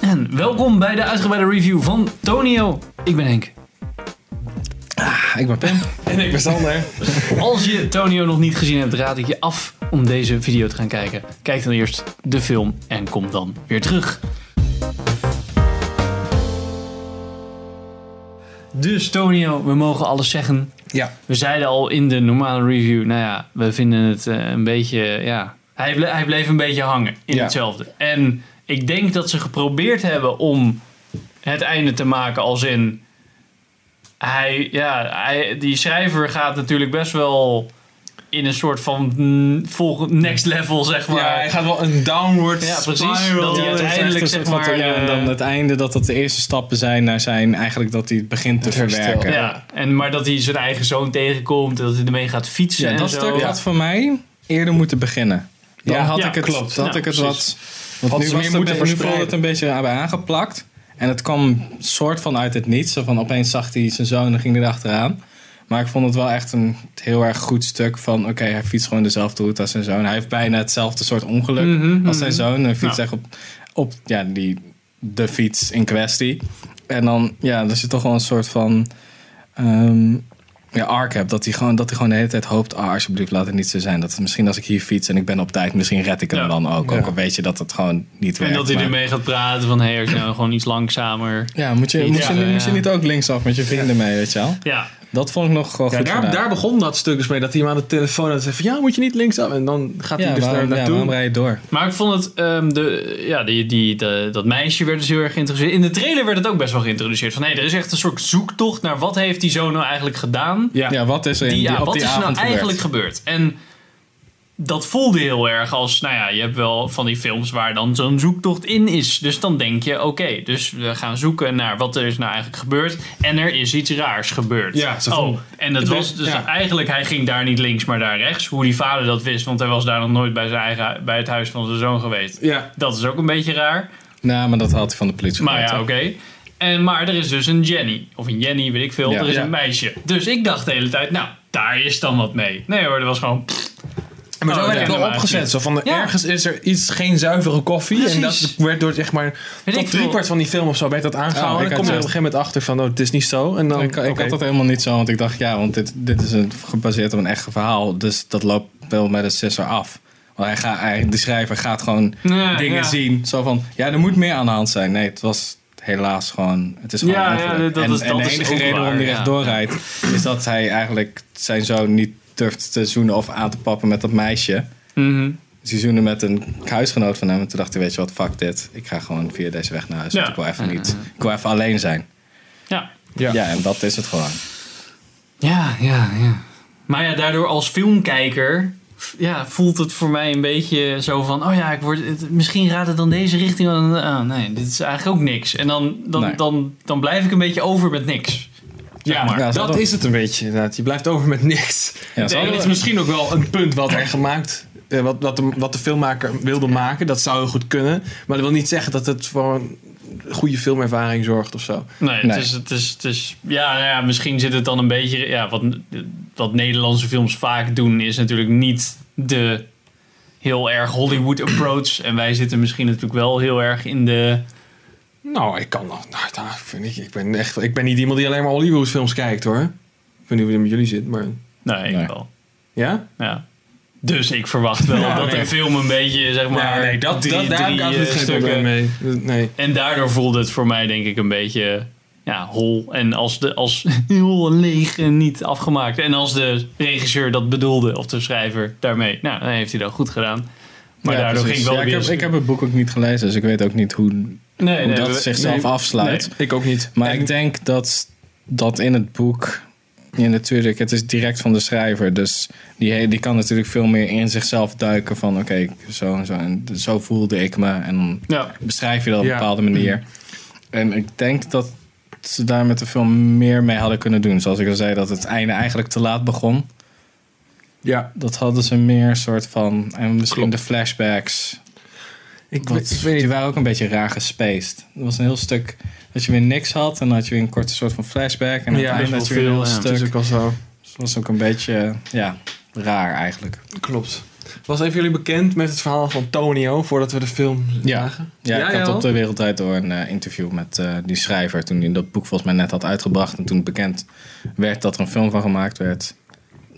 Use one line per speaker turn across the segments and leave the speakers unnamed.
En welkom bij de uitgebreide review van Tonio. Ik ben Henk.
Ik ben Pim. En ik ben Sander.
Als je Tonio nog niet gezien hebt, raad ik je af om deze video te gaan kijken. Kijk dan eerst de film en kom dan weer terug. Dus Tonio, we mogen alles zeggen.
Ja.
We zeiden al in de normale review, nou ja, we vinden het eh, een beetje, ja... Hij, ble- hij bleef een beetje hangen in
Ja.
hetzelfde. En ik denk dat ze geprobeerd hebben om het einde te maken als in... Hij, ja, hij, die schrijver gaat natuurlijk best wel in een soort van mm, volg- next level, zeg maar.
Ja, hij gaat wel een downward
Ja, precies.
spiral.
Dat hij
Ja, het is echt
uiteindelijk,
een
zeg
soort van-
maar,
ja, en dan
eh,
het einde, dat dat de eerste stappen zijn naar zijn... Eigenlijk dat hij het begint te
Het herstel.
verwerken. Ja,
Ja, en, maar dat hij zijn eigen zoon tegenkomt en dat hij ermee gaat fietsen en
dat
zo.
stuk had voor mij eerder moeten beginnen. Dan
Ja,
had
ja,
ik het,
klopt.
Had
Ja,
ik het
precies.
wat... Want
Had
nu,
ze
was
meer
het een
moeten
be- nu voelde
verspreiden.
het een beetje aan- aangeplakt. En het kwam soort van uit het niets. Zo van opeens zag hij zijn zoon en ging erachteraan. Maar ik vond het wel echt een heel erg goed stuk van... Oké, hij fietst gewoon dezelfde route als zijn zoon. Hij heeft bijna hetzelfde soort ongeluk
Mhm,
als zijn zoon. Hij fietst
Ja.
echt op, op ja, die, de fiets in kwestie. En dan, ja, er zit toch wel een soort van... ehm, ja, arc heb. Dat hij, gewoon, dat hij gewoon de hele tijd hoopt... Ah, alsjeblieft, laat het niet zo zijn. Dat het misschien als ik hier fiets en ik ben op tijd... Misschien red ik hem
Ja.
dan ook.
Ja.
Ook al weet je dat het gewoon niet
En
werkt.
dat hij
maar-
ermee gaat praten van, hé, hey, als je nou gewoon iets langzamer...
Ja, moet je,
Iets,
moet, je,
ja.
moet je niet ook linksaf met je vrienden mee, weet je wel?
Ja,
Dat vond ik nog gewoon
Ja,
goed
daar,
gedaan.
daar begon dat stuk dus mee. Dat hij hem aan de telefoon had en zei van... Ja, moet je niet linksaf? En dan gaat hij
ja,
dus
waarom,
daar
ja, waarom
naartoe.
rij je door?
Maar ik vond het, ehm, de, ja, die, die, de- dat meisje werd dus heel erg geïntroduceerd. In de trailer werd het ook best wel geïntroduceerd. Van hé, er is echt een soort zoektocht naar wat heeft die zoon nou eigenlijk gedaan.
Ja,
Ja, wat is er in
Die,
die,
ja,
op
wat
die
is er
avond
nou
gebeurd?
eigenlijk gebeurd? En dat voelde heel erg als, nou ja, je hebt wel van die films waar dan zo'n zoektocht in is. Dus dan denk je, oké, dus we gaan zoeken naar wat er is nou eigenlijk gebeurd. En er is iets raars gebeurd.
Ja, zo van-
oh, en dat
Het
was
is-
dus
ja.
eigenlijk, hij ging daar niet links, maar daar rechts. Hoe die vader dat wist, want hij was daar nog nooit bij, zijn eigen, bij het huis van zijn zoon geweest.
ja.
Dat is ook een beetje raar.
Nou, maar dat had hij van de politie
Maar
gehoord,
ja,
hè?
oké. En, maar er is dus een Jenny. Of een Jenny, weet ik veel.
Ja.
er is
Ja.
een meisje. Dus ik dacht de hele tijd, nou, daar is dan wat mee. Nee hoor, dat was gewoon...
Maar zo
Oh,
werd
ja.
het wel
Ja.
opgezet. Zo van,
Ja.
ergens is er iets, geen zuivere koffie. En dat
Precies.
werd door, zeg maar,
Weet ik
tot
veel.
driekwart van die film of zo werd dat
Oh,
aangehouden.
ik
en dan kom je
had
op een gegeven moment achter van, oh, het is niet zo. En dan,
Ik, ik
oké.
had dat helemaal niet zo, want ik dacht, ja, want dit, dit is een, gebaseerd op een echt verhaal. Dus dat loopt wel met een sisser af. Want hij ga, hij, de schrijver gaat gewoon
Ja,
dingen
ja.
zien. Zo van, ja, er moet meer aan de hand zijn. Nee, het was helaas gewoon, het is gewoon
Ja,
een
ja,
ongeluk.
dat
en,
is-
en
dat
de
is
enige
ook
reden waarom hij
waar, ja.
rechtdoor rijdt, is dat hij eigenlijk zijn zoon niet durft te zoenen of aan te pappen met dat meisje.
Mhm.
Dus hij zoende met een huisgenoot van hem. En toen dacht hij, weet je wat, fuck dit. Ik ga gewoon via deze weg naar huis.
Ja.
want ik wil even niet, ik wil even alleen zijn.
Ja.
Ja.
ja, en dat is het gewoon.
Ja, ja, ja. Maar ja, daardoor als filmkijker... f- Ja, voelt het voor mij een beetje zo van... Oh ja, ik word, het- misschien gaat het dan deze richting... dan- ah, nee, dit is eigenlijk ook niks. En dan, dan,
Nee.
dan, dan blijf ik een beetje over met niks.
Ja,
maar.
Ja,
dat
dat-
is het een beetje inderdaad. Je blijft over met niks.
Ja,
En
zo-
het is misschien ook wel een punt wat er gemaakt... eh, wat, wat, de, wat de filmmaker wilde maken. Dat zou heel goed kunnen. Maar dat wil niet zeggen dat het voor een goede filmervaring zorgt of zo.
Nee, het,
Nee.
Is, het, is, het is. Ja, nou ja, misschien zit het dan een beetje. Ja, wat, wat Nederlandse films vaak doen, is natuurlijk niet de heel erg Hollywood approach. En wij zitten misschien natuurlijk wel heel erg in de.
Nou, ik kan nog... Nou, daar vind ik, ik, ben echt, ik ben niet iemand die alleen maar Hollywood films kijkt hoor. Ik weet niet hoe het met jullie zit, maar...
Nee, nou, ik
Nee.
wel.
Ja?
Ja. Dus ik verwacht wel
Ja,
dat
nee.
een film een beetje, zeg maar. drie- drie,
heb ik
eh,
absoluut geen probleem mee. Nee.
En daardoor voelde het voor mij, denk ik, een beetje. Ja, hol. En als, de, als heel leeg en niet afgemaakt. En als de regisseur dat bedoelde, of de schrijver daarmee. Nou, dan heeft hij dat goed gedaan. Maar
Ja,
daardoor
precies.
ging ik wel
Ja, ik, heb,
weer...
ik heb het boek ook niet gelezen, dus ik weet ook niet hoe,
nee,
hoe dat
we-
zichzelf
nee.
afsluit.
Ik ook niet.
Maar
En-
ik denk dat dat in het boek. Ja, natuurlijk, het is direct van de schrijver. Dus die, he- die kan natuurlijk veel meer in zichzelf duiken van oké, zo en zo. En zo voelde ik me. En dan
Ja.
beschrijf je dat op een
Ja.
bepaalde manier. En ik denk dat ze daar met de film meer mee hadden kunnen doen. Zoals ik al zei, dat het einde eigenlijk te laat begon.
Ja.
Dat hadden ze meer soort van. En misschien
Klopt.
de flashbacks.
Ik,
Wat-
weet- ik weet niet.
die waren ook een beetje raar gespaced. Er was een heel stuk dat je weer niks had. En dan had je weer een korte soort van flashback. En aan
Ja,
het einde
best
had je
wel
dus
weer een
veel,
heel
ja.
Het is
stuk.
ook al zo.
Dus dat was ook een beetje ja, raar eigenlijk.
Klopt. Was een van jullie bekend met het verhaal van Tonio voordat we de film
Ja.
zagen?
Ja, ik
jij
had
wel?
op de Wereldwijd door een eh, interview met eh, die schrijver. Toen hij dat boek volgens mij net had uitgebracht. En toen bekend werd dat er een film van gemaakt werd.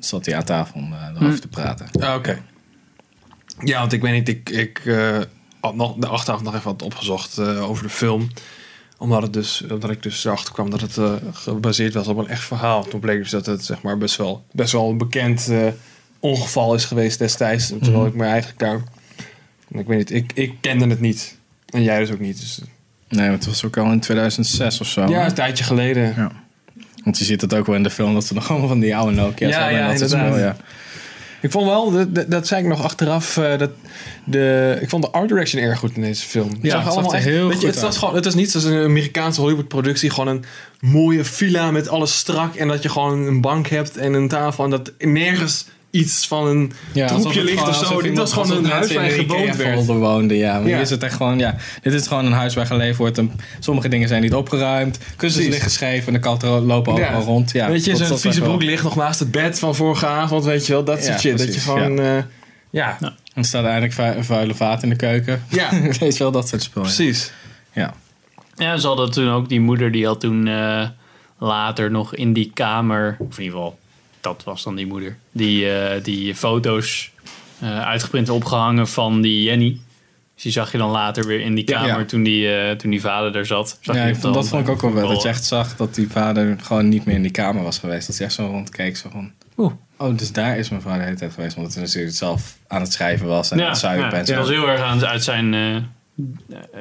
Zat hij aan tafel om eh, erover te praten.
Ah, Oké. Ja, want ik weet niet, ik, ik eh, had nog de achteraf nog even wat opgezocht eh, over de film. Omdat, het dus, omdat ik dus erachter kwam dat het eh, gebaseerd was op een echt verhaal. Toen bleek dus dat het zeg maar, best, wel, best wel een bekend eh, ongeval is geweest destijds. Terwijl ik me eigenlijk daar... Ik weet niet, ik, ik kende het niet. En jij dus ook niet. Dus,
Nee, maar het was ook al in 2006 of zo.
ja,
hè?
een tijdje geleden.
Ja. Want je ziet het ook wel in de film dat ze nog allemaal van die oude Nokia's
Ja,
hebben. en dat
ja,
soort
inderdaad.
spullen, ja.
Ik vond wel, dat, dat, dat zei ik nog achteraf, eh, dat de, ik vond de art direction erg goed in deze film. Het
Ja, het zag er heel
weet je,
goed
het, was
uit.
gewoon, het is niet zoals een Amerikaanse Hollywood productie, gewoon een mooie villa met alles strak en dat je gewoon een bank hebt en een tafel en dat nergens iets van een
Ja, alsof
troepje
het
ligt
gewoon-
of zo.
alsof
Dit
iemand-
was gewoon
alsof
een
mensen
huis
in
waar je
een
gewoond werd.
IKEA-folder woonden, ja. Maar
Ja.
hier is het echt gewoon, ja. Dit is gewoon een huis waar geleefd wordt. En sommige dingen zijn niet opgeruimd. Kussens
Precies.
liggen scheef en de katten ro- lopen
Ja.
overal rond. Ja,
weet je,
dat-
zo'n
dat was
vieze
wel-
broek ligt nog naast het bed van vorige avond, weet je wel, dat
Ja,
soort shit.
precies, Nou,
dat je gewoon, eh, ja.
Ja.
Ja.
En er staat eigenlijk vu- een vuile vaat in de keuken. Weet je wel, dat soort spullen.
precies.
Ja.
Ja, ze hadden toen ook die moeder die had toen eh, later nog in die kamer, of in ieder geval, dat was dan die moeder, die, eh, die foto's eh, uitgeprint opgehangen van die Jenny. Dus die zag je dan later weer in die
Ja,
kamer
ja.
toen, die, eh, toen die vader er zat. Zag
ja
je
ik
op
vond-
de
dat vond
eh,
ik ook wel wel. Dat je
wel-
echt zag dat die vader gewoon niet meer in die kamer was geweest. Dat hij echt zo rondkeek. Zo van,
Oeh.
oh, dus daar is mijn vader de hele tijd geweest. Omdat hij natuurlijk zelf aan het schrijven was en aan
Ja,
het zuipen
ja,
en
het
zo.
was heel erg aan, uit zijn, eh, eh,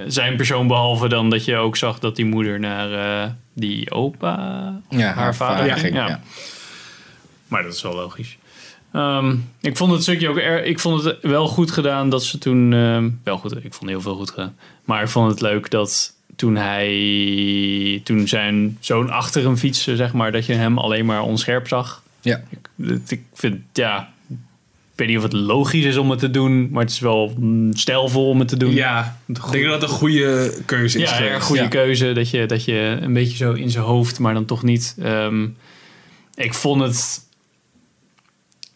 zijn persoon, behalve dan dat je ook zag dat die moeder naar eh, die opa,
Ja,
haar, vader, ging. ja.
ja.
Maar dat is wel logisch. Ehm, ik vond het stukje ook er, Ik vond het wel goed gedaan dat ze toen. ehm, wel goed, ik vond heel veel goed gedaan. Maar ik vond het leuk dat toen hij. Toen zijn zoon achter hem fietste, zeg maar. Dat je hem alleen maar onscherp zag.
Ja.
Ik, het- ik vind. Ja. Ik weet niet of het logisch is om het te doen. Maar het is wel mm, stijlvol om het te doen.
Ja, ik denk dat dat een goede keuze is.
Ja,
geweest.
erg goede
Ja.
keuze. Dat je, dat je een beetje zo in zijn hoofd, maar dan toch niet. Ehm, ik vond het.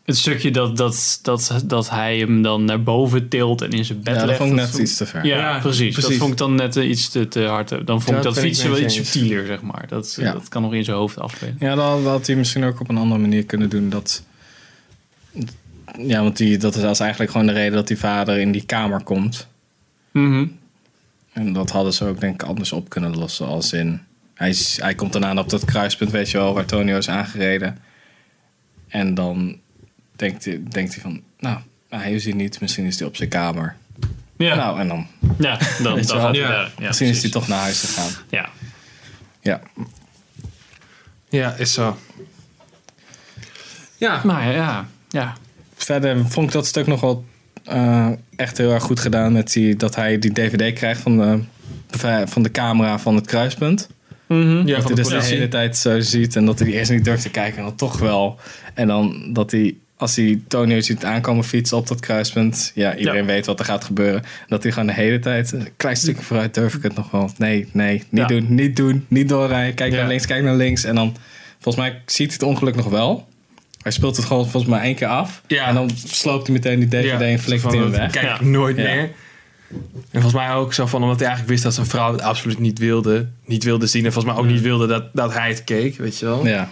Het stukje dat, dat, dat, dat hij hem dan naar boven tilt en in zijn bed
Ja, dat
legt.
vond ik net
vond-
iets te ver.
Ja,
Ja,
precies. Dat
precies.
vond ik dan net eh, iets te, te hard. Dan vond ik
Dat
dat
ben ik
fietsen
met
wel
je
iets
eens.
subtieler, zeg maar. Dat, eh,
Ja.
dat kan nog in zijn hoofd afspelen.
Ja, dan had hij misschien ook op een andere manier kunnen doen dat. Ja, want die, dat is als eigenlijk gewoon de reden dat die vader in die kamer komt.
Mhm.
En dat hadden ze ook, denk ik, anders op kunnen lossen. Als in. Hij, is- hij komt dan aan op dat kruispunt, weet je wel, waar Tonio is aangereden. En dan denkt hij, denkt hij van. Nou, hij is hier niet, misschien is hij op zijn kamer.
Ja,
Nou, en dan.
ja, dan, dan
Weet je wel.
gaat hij
Ja.
daar. Ja,
misschien is hij
precies.
toch naar huis gegaan.
Ja.
Ja.
Ja, is zo. Ja,
Maar ja, ja.
Verder vond ik dat stuk nog wel eh, echt heel erg goed gedaan. Met die, dat hij die dvd krijgt van de, van de camera van het kruispunt.
Mhm.
ja,
dat
van
hij
de
dus de
politie.
hele tijd zo ziet. En dat hij die eerst niet durft te kijken. En dan toch wel. En dan dat hij... Als hij Tonio ziet aankomen fietsen op dat kruispunt. Ja, iedereen
Ja.
weet wat er gaat gebeuren. Dat hij gewoon de hele tijd een klein stukje vooruit durf ik het nog wel. Nee, nee, niet
Ja.
doen, niet doen, niet doorrijden. Kijk
Ja.
naar links, kijk naar links. En dan, volgens mij ziet hij het ongeluk nog wel. Hij speelt het gewoon volgens mij één keer af.
Ja.
En dan sloopt hij meteen die DVD en flikt hij
Van,
hem
dat
weg.
Kijk,
Ja.
nooit
Ja.
meer. En volgens mij ook zo van, omdat hij eigenlijk wist dat zijn vrouw het absoluut niet wilde. Niet wilde zien en volgens mij ook niet wilde dat, dat hij het keek, weet je wel.
Ja.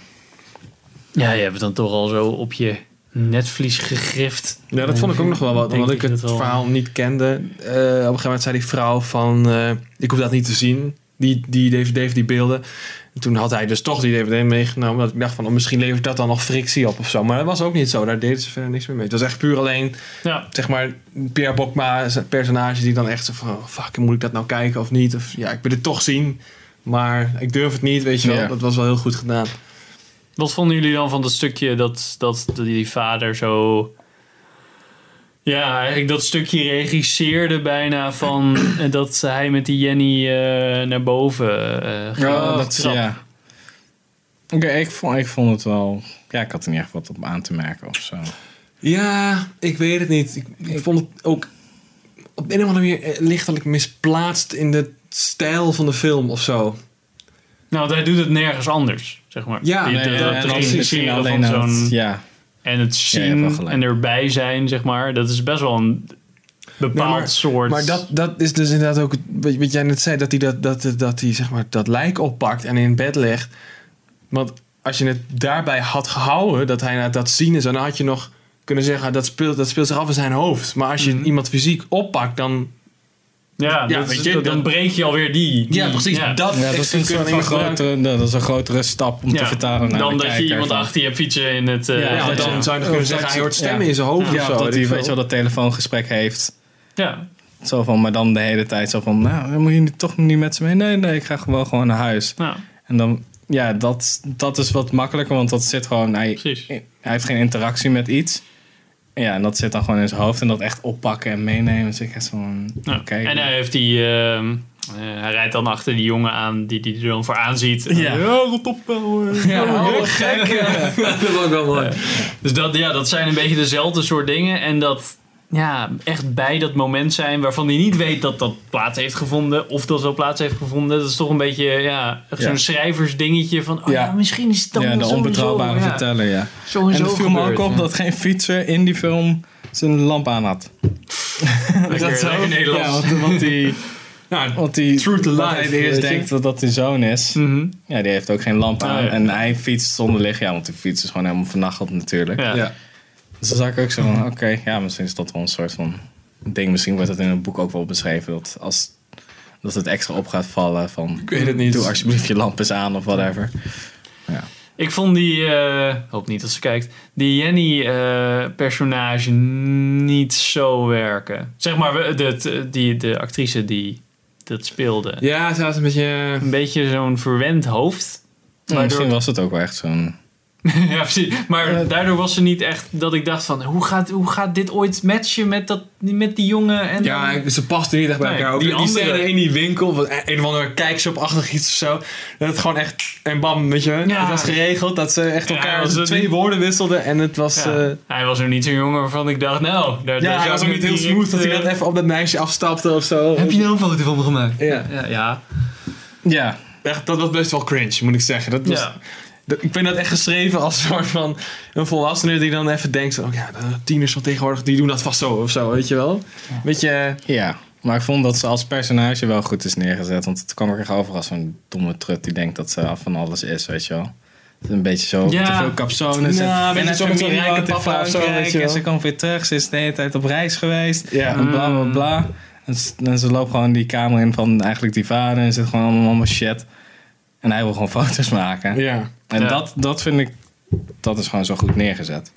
ja, je hebt het dan toch al zo op je netvlies gegrift.
Ja, dat vond ik ook nog wel wat.
Denk
Omdat ik
dat
het
wel-
verhaal niet kende. Eh, op een gegeven moment zei die vrouw van... eh, ik hoef dat niet te zien, die, die dvd of die beelden. En toen had hij dus toch die dvd meegenomen. Dat ik dacht van, oh, misschien levert dat dan nog frictie op of zo. Maar dat was ook niet zo. Daar deden ze verder niks meer mee. Het was echt puur alleen,
Ja.
zeg maar... Pierre Bokma, zijn personage die dan echt zo van... oh, fuck, moet ik dat nou kijken of niet? Of ja, ik wil het toch zien. Maar ik durf het niet, weet je wel.
Ja.
Dat was wel heel goed gedaan.
Wat vonden jullie dan van dat stukje dat, dat die vader zo. Ja, eigenlijk dat stukje regisseerde bijna van eh, dat hij met die Jenny eh, naar boven eh ging.
Ja, dat,
Trap.
ja. Oké, ik, vond, ik vond het wel... Ja, ik had er niet echt wat op aan te merken of zo.
Ja, ik weet het niet. Ik, ik vond het ook op een of andere manier eh, lichtelijk misplaatst in de stijl van de film of zo.
Nou, want hij doet het nergens anders, zeg maar.
Ja,
Die-
nee,
dat
ja,
dat
en
dan
als je
regisseren
zien
van
aan het-
zo'n.
Ja,
en het
Ja, je hebt
zien
wel gelijk.
en erbij zijn, zeg maar. Dat is best wel een bepaald
Nee, maar-
soort...
Maar dat, dat is dus inderdaad ook wat, wat jij net zei, dat hij dat, dat, dat, hij zeg maar, dat lijk oppakt en in bed legt. Want als je het daarbij had gehouden, dat hij inderdaad dat zien is, dan had je nog kunnen zeggen dat speelt, dat speelt zich af in zijn hoofd. Maar als je
Mhm.
iemand fysiek oppakt, dan.
ja,
ja,
dat-
weet je,
dat- dan
dat-
breek je alweer die. die-
Dat,
Ja, dat is een soort van grotere, dat is een grotere stap om te
Ja,
vertalen naar
Dan
de
dat je
kijker
iemand
van-
achter je hebt fietsen in het... eh,
Ja,
Ja,
want
dat
dan
je-
zou je nog
of
kunnen
dat
zeggen, hij
je-
hoort stemmen
ja.
in zijn hoofd.
Ja,
of zo,
of dat hij,
ik
weet je
veel.
wel, dat telefoongesprek heeft.
ja.
Zo van, maar dan de hele tijd zo van, nou, dan moet je niet- toch niet met ze mee. Nee, nee, ik ga gewoon gewoon naar huis.
Nou,
En dan, ja, dat, dat is wat makkelijker, want dat zit gewoon, hij,
precies.
hij heeft geen interactie met iets. Ja, en dat zit dan gewoon in zijn hoofd. En dat echt oppakken en meenemen. Dus ik echt van,
Ja.
oké.
En hij heeft die... ehm, eh, hij rijdt dan achter die jongen aan die die er dan voor aanziet. En
Ja.
dan, Ja, rot op. eh, hoor.
Oh,
gek. dat is ook wel mooi.
Dus dat, ja, dat zijn een beetje dezelfde soort dingen. En dat ja, echt bij dat moment zijn waarvan hij niet weet dat dat plaats heeft gevonden. Of dat wel plaats heeft gevonden. Dat is toch een beetje ja, echt zo'n
Ja.
schrijversdingetje van... Oh ja.
Ja.
misschien is het dan
ja,
wel
de
sowieso,
onbetrouwbare
ja,
verteller, ja.
sowieso
En het viel me ook
gebeurd,
op
ja.
dat geen fietser in die film zijn lamp aan had.
Lekker-
dat zo?
lekker Nederlands.
Ja, want, want die...
Nou,
Want die
True to
wat
life,
hij eerst
weet je.
denkt dat dat zijn zoon is.
Mhm.
Ja, die heeft ook geen lamp
Ah,
aan.
ja.
En hij fietst zonder licht. Ja, want die fiets is gewoon helemaal vernacheld natuurlijk.
Ja.
ja.
Dus dan zag ik ook zo van, oké, ja, misschien is dat wel een soort van ding. Misschien wordt dat in een boek ook wel beschreven. Dat als dat het extra op gaat vallen van...
Ik weet het niet.
Doe alsjeblieft je lamp eens aan of whatever.
Ik vond die, eh hoop niet dat ze kijkt, die Jenny-personage niet zo werken. Zeg maar, we- de, de, die, de actrice die dat speelde.
Ja, ze was een beetje...
Een beetje zo'n verwend hoofd.
Maar misschien was het ook wel echt zo'n...
ja, precies. Maar daardoor was ze niet echt dat ik dacht van... hoe gaat, hoe gaat dit ooit matchen met, dat, met die jongen? En
Ja, ik- ze pasten niet echt bij
Nee,
elkaar. Ook
die
die, die
andere-
scène in die winkel, wat een een of andere kijkshop-achtig iets of zo. Dat het gewoon echt, en bam, weet je.
Ja.
Het was geregeld dat ze echt
Ja,
elkaar
was het
twee
niet-
woorden wisselden. En het was...
Ja.
eh, Ja,
Hij was er niet zo'n jongen waarvan ik dacht... nou, daar, daar
hij
zou
was
ik
ook niet heel
direct,
smooth dat hij
eh,
dat even op dat meisje afstapte of zo.
Heb je nou een foto van me gemaakt?
Ja.
Ja, ja.
Ja,
Echt, dat was best wel cringe, moet ik zeggen. Dat was,
Ja.
dat- ik vind dat echt geschreven als een soort van een volwassene die dan even denkt... van, Oh ja, de tieners van tegenwoordig, die doen dat vast zo of zo, weet je wel. Weet je...
ja. Maar ik vond dat ze als personage wel goed is neergezet. Want het kwam er echt over als zo'n domme trut die denkt dat ze af van alles is, weet je wel. Het is Een beetje zo,
Ja.
te veel capsones.
Ja, een
en
beetje
en
zo
een
met zo'n
familie woont
rijke
in
papa of zo,
Frankrijk
weet je
En
wel.
ze komt weer terug, ze is de hele tijd op reis geweest.
Ja.
En bla bla bla. En s- En ze loopt gewoon die kamer in van eigenlijk die vader. En zit gewoon allemaal, allemaal shit. En hij wil gewoon foto's maken.
Ja.
En
Ja.
dat, dat vind ik, dat is gewoon zo goed neergezet.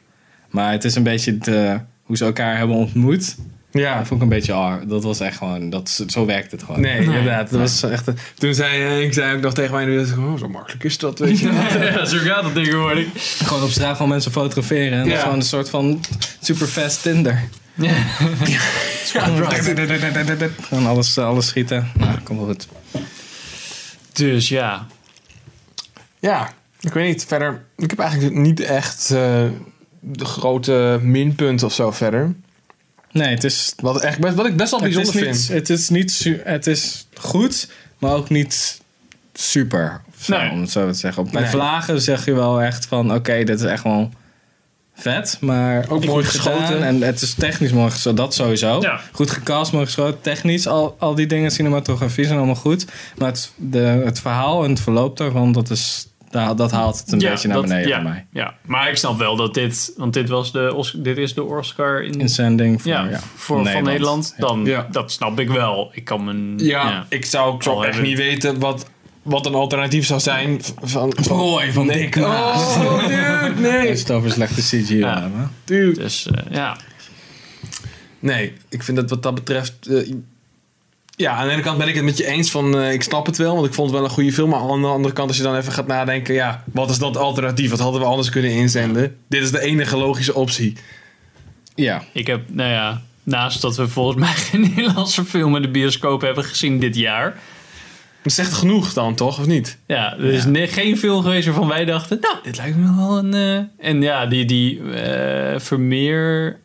Maar het is een beetje de, hoe ze elkaar hebben ontmoet.
Ja.
Dat vond ik een beetje ar. Dat was echt gewoon, dat, zo werkt het gewoon.
Nee, inderdaad. Dat was echt een- Toen zei eh, ik zei ook nog tegen mij, dus, oh, zo makkelijk is dat, weet je wel.
Ja, zo gaat dat tegenwoordig.
Gewoon op straat gewoon mensen fotograferen. En dat
Ja.
is gewoon een soort van superfast Tinder.
Ja.
Gewoon alles, alles schieten. Nou, komt wel goed.
Dus ja.
Ja, ik weet niet. Verder, ik heb eigenlijk niet echt eh, de grote minpunten of zo verder.
Nee, het is,
Wat, echt best, wat ik best wel
het is,
bijzonder
niet,
vind.
het, is niet su- het is goed, maar ook niet super. of zo,
Nee.
Om het zo te zeggen. Bij
Nee.
vlagen zeg je wel echt van, oké, dit is echt wel vet. Maar
Ook mooi
goed gedaan.
geschoten.
En het is technisch mooi geschoten, dat sowieso.
Ja.
Goed gecast, mooi geschoten. Technisch, al, al die dingen, cinematografie zijn allemaal goed. Maar het, de, het verhaal en het verloop daarvan, dat, is, daar- dat haalt het een
Ja,
beetje naar
dat-
beneden
ja,
voor mij.
Ja, maar ik snap wel dat dit, want dit, was de, Os- dit is de Oscar in,
In zending voor,
ja,
ja,
voor, van Nederland. Dan,
Ja.
Dat snap ik wel. Ik kan mijn.
Ja, ik zou ook
Al
zo echt
hebben-
niet weten wat, wat een alternatief zou zijn. v- Van,
Prooi van
nee.
Dick
Oh, dude,
Als
nee.
je het over slechte CG
Ja.
hebben.
Dude.
Dus eh, ja.
Nee, ik vind dat wat dat betreft... eh, ja, aan de ene kant ben ik het met je eens van... eh, ik snap het wel, want ik vond het wel een goede film. Maar aan de andere kant, als je dan even gaat nadenken... Ja, wat is dat alternatief? Wat hadden we anders kunnen inzenden? Dit is de enige logische optie.
Ja,
Ik heb, nou ja, naast dat we volgens mij geen Nederlandse film in de bioscoop hebben gezien dit jaar.
Dat is echt genoeg dan, toch? Of niet?
Ja, er is ne- geen film geweest waarvan wij dachten, nou, dit lijkt me wel een. eh, En ja, die, die eh, Vermeer.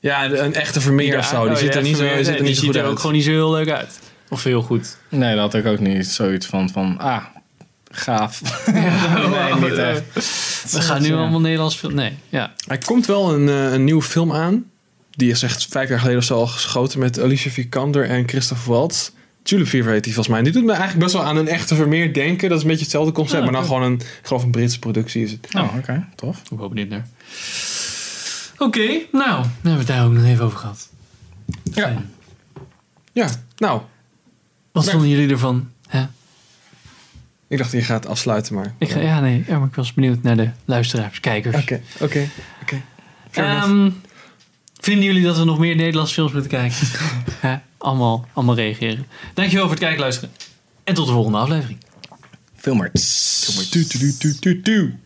Ja, een een echte Vermeer of zo. Die
oh
zit
ja,
er niet zo,
Vermeer,
zit
nee,
er
die
niet zo
ziet
goed
er ook
uit.
gewoon niet zo heel leuk uit. Of heel goed.
nee, daar had ik ook niet zoiets van, van ah, gaaf. nee,
Oh,
niet echt.
We gaan nu
Ja.
allemaal Nederlands filmen. Nee, ja.
Er komt wel een, eh, een nieuwe film aan. Die is echt vijf jaar geleden of zo al geschoten met Alicia Vikander en Christopher Waltz. Tulip Fever heet die volgens mij. Die doet me eigenlijk best wel aan een echte Vermeer denken. Dat is een beetje hetzelfde concept,
Ah,
maar dan
oké.
gewoon een, ik geloof een Britse productie is het.
Oh, oké, tof.
Ik ben wel benieuwd naar. Oké, nou, dan hebben we het daar ook nog even over gehad.
Ja.
Fijn.
Ja, nou,
Wat
Nee.
vonden jullie ervan? Hè?
ik dacht je gaat afsluiten, maar...
Ik, ga- ja, nee, ja, maar ik was benieuwd naar de luisteraars, kijkers.
Oké, oké, oké. Fair enough.
Ehm, vinden jullie dat we nog meer Nederlandse films moeten kijken? Hè? allemaal, allemaal reageren. Dankjewel voor het kijken, luisteren. En tot de volgende aflevering.
Filmers.
Tu, tu, tu, tu, tu, tu.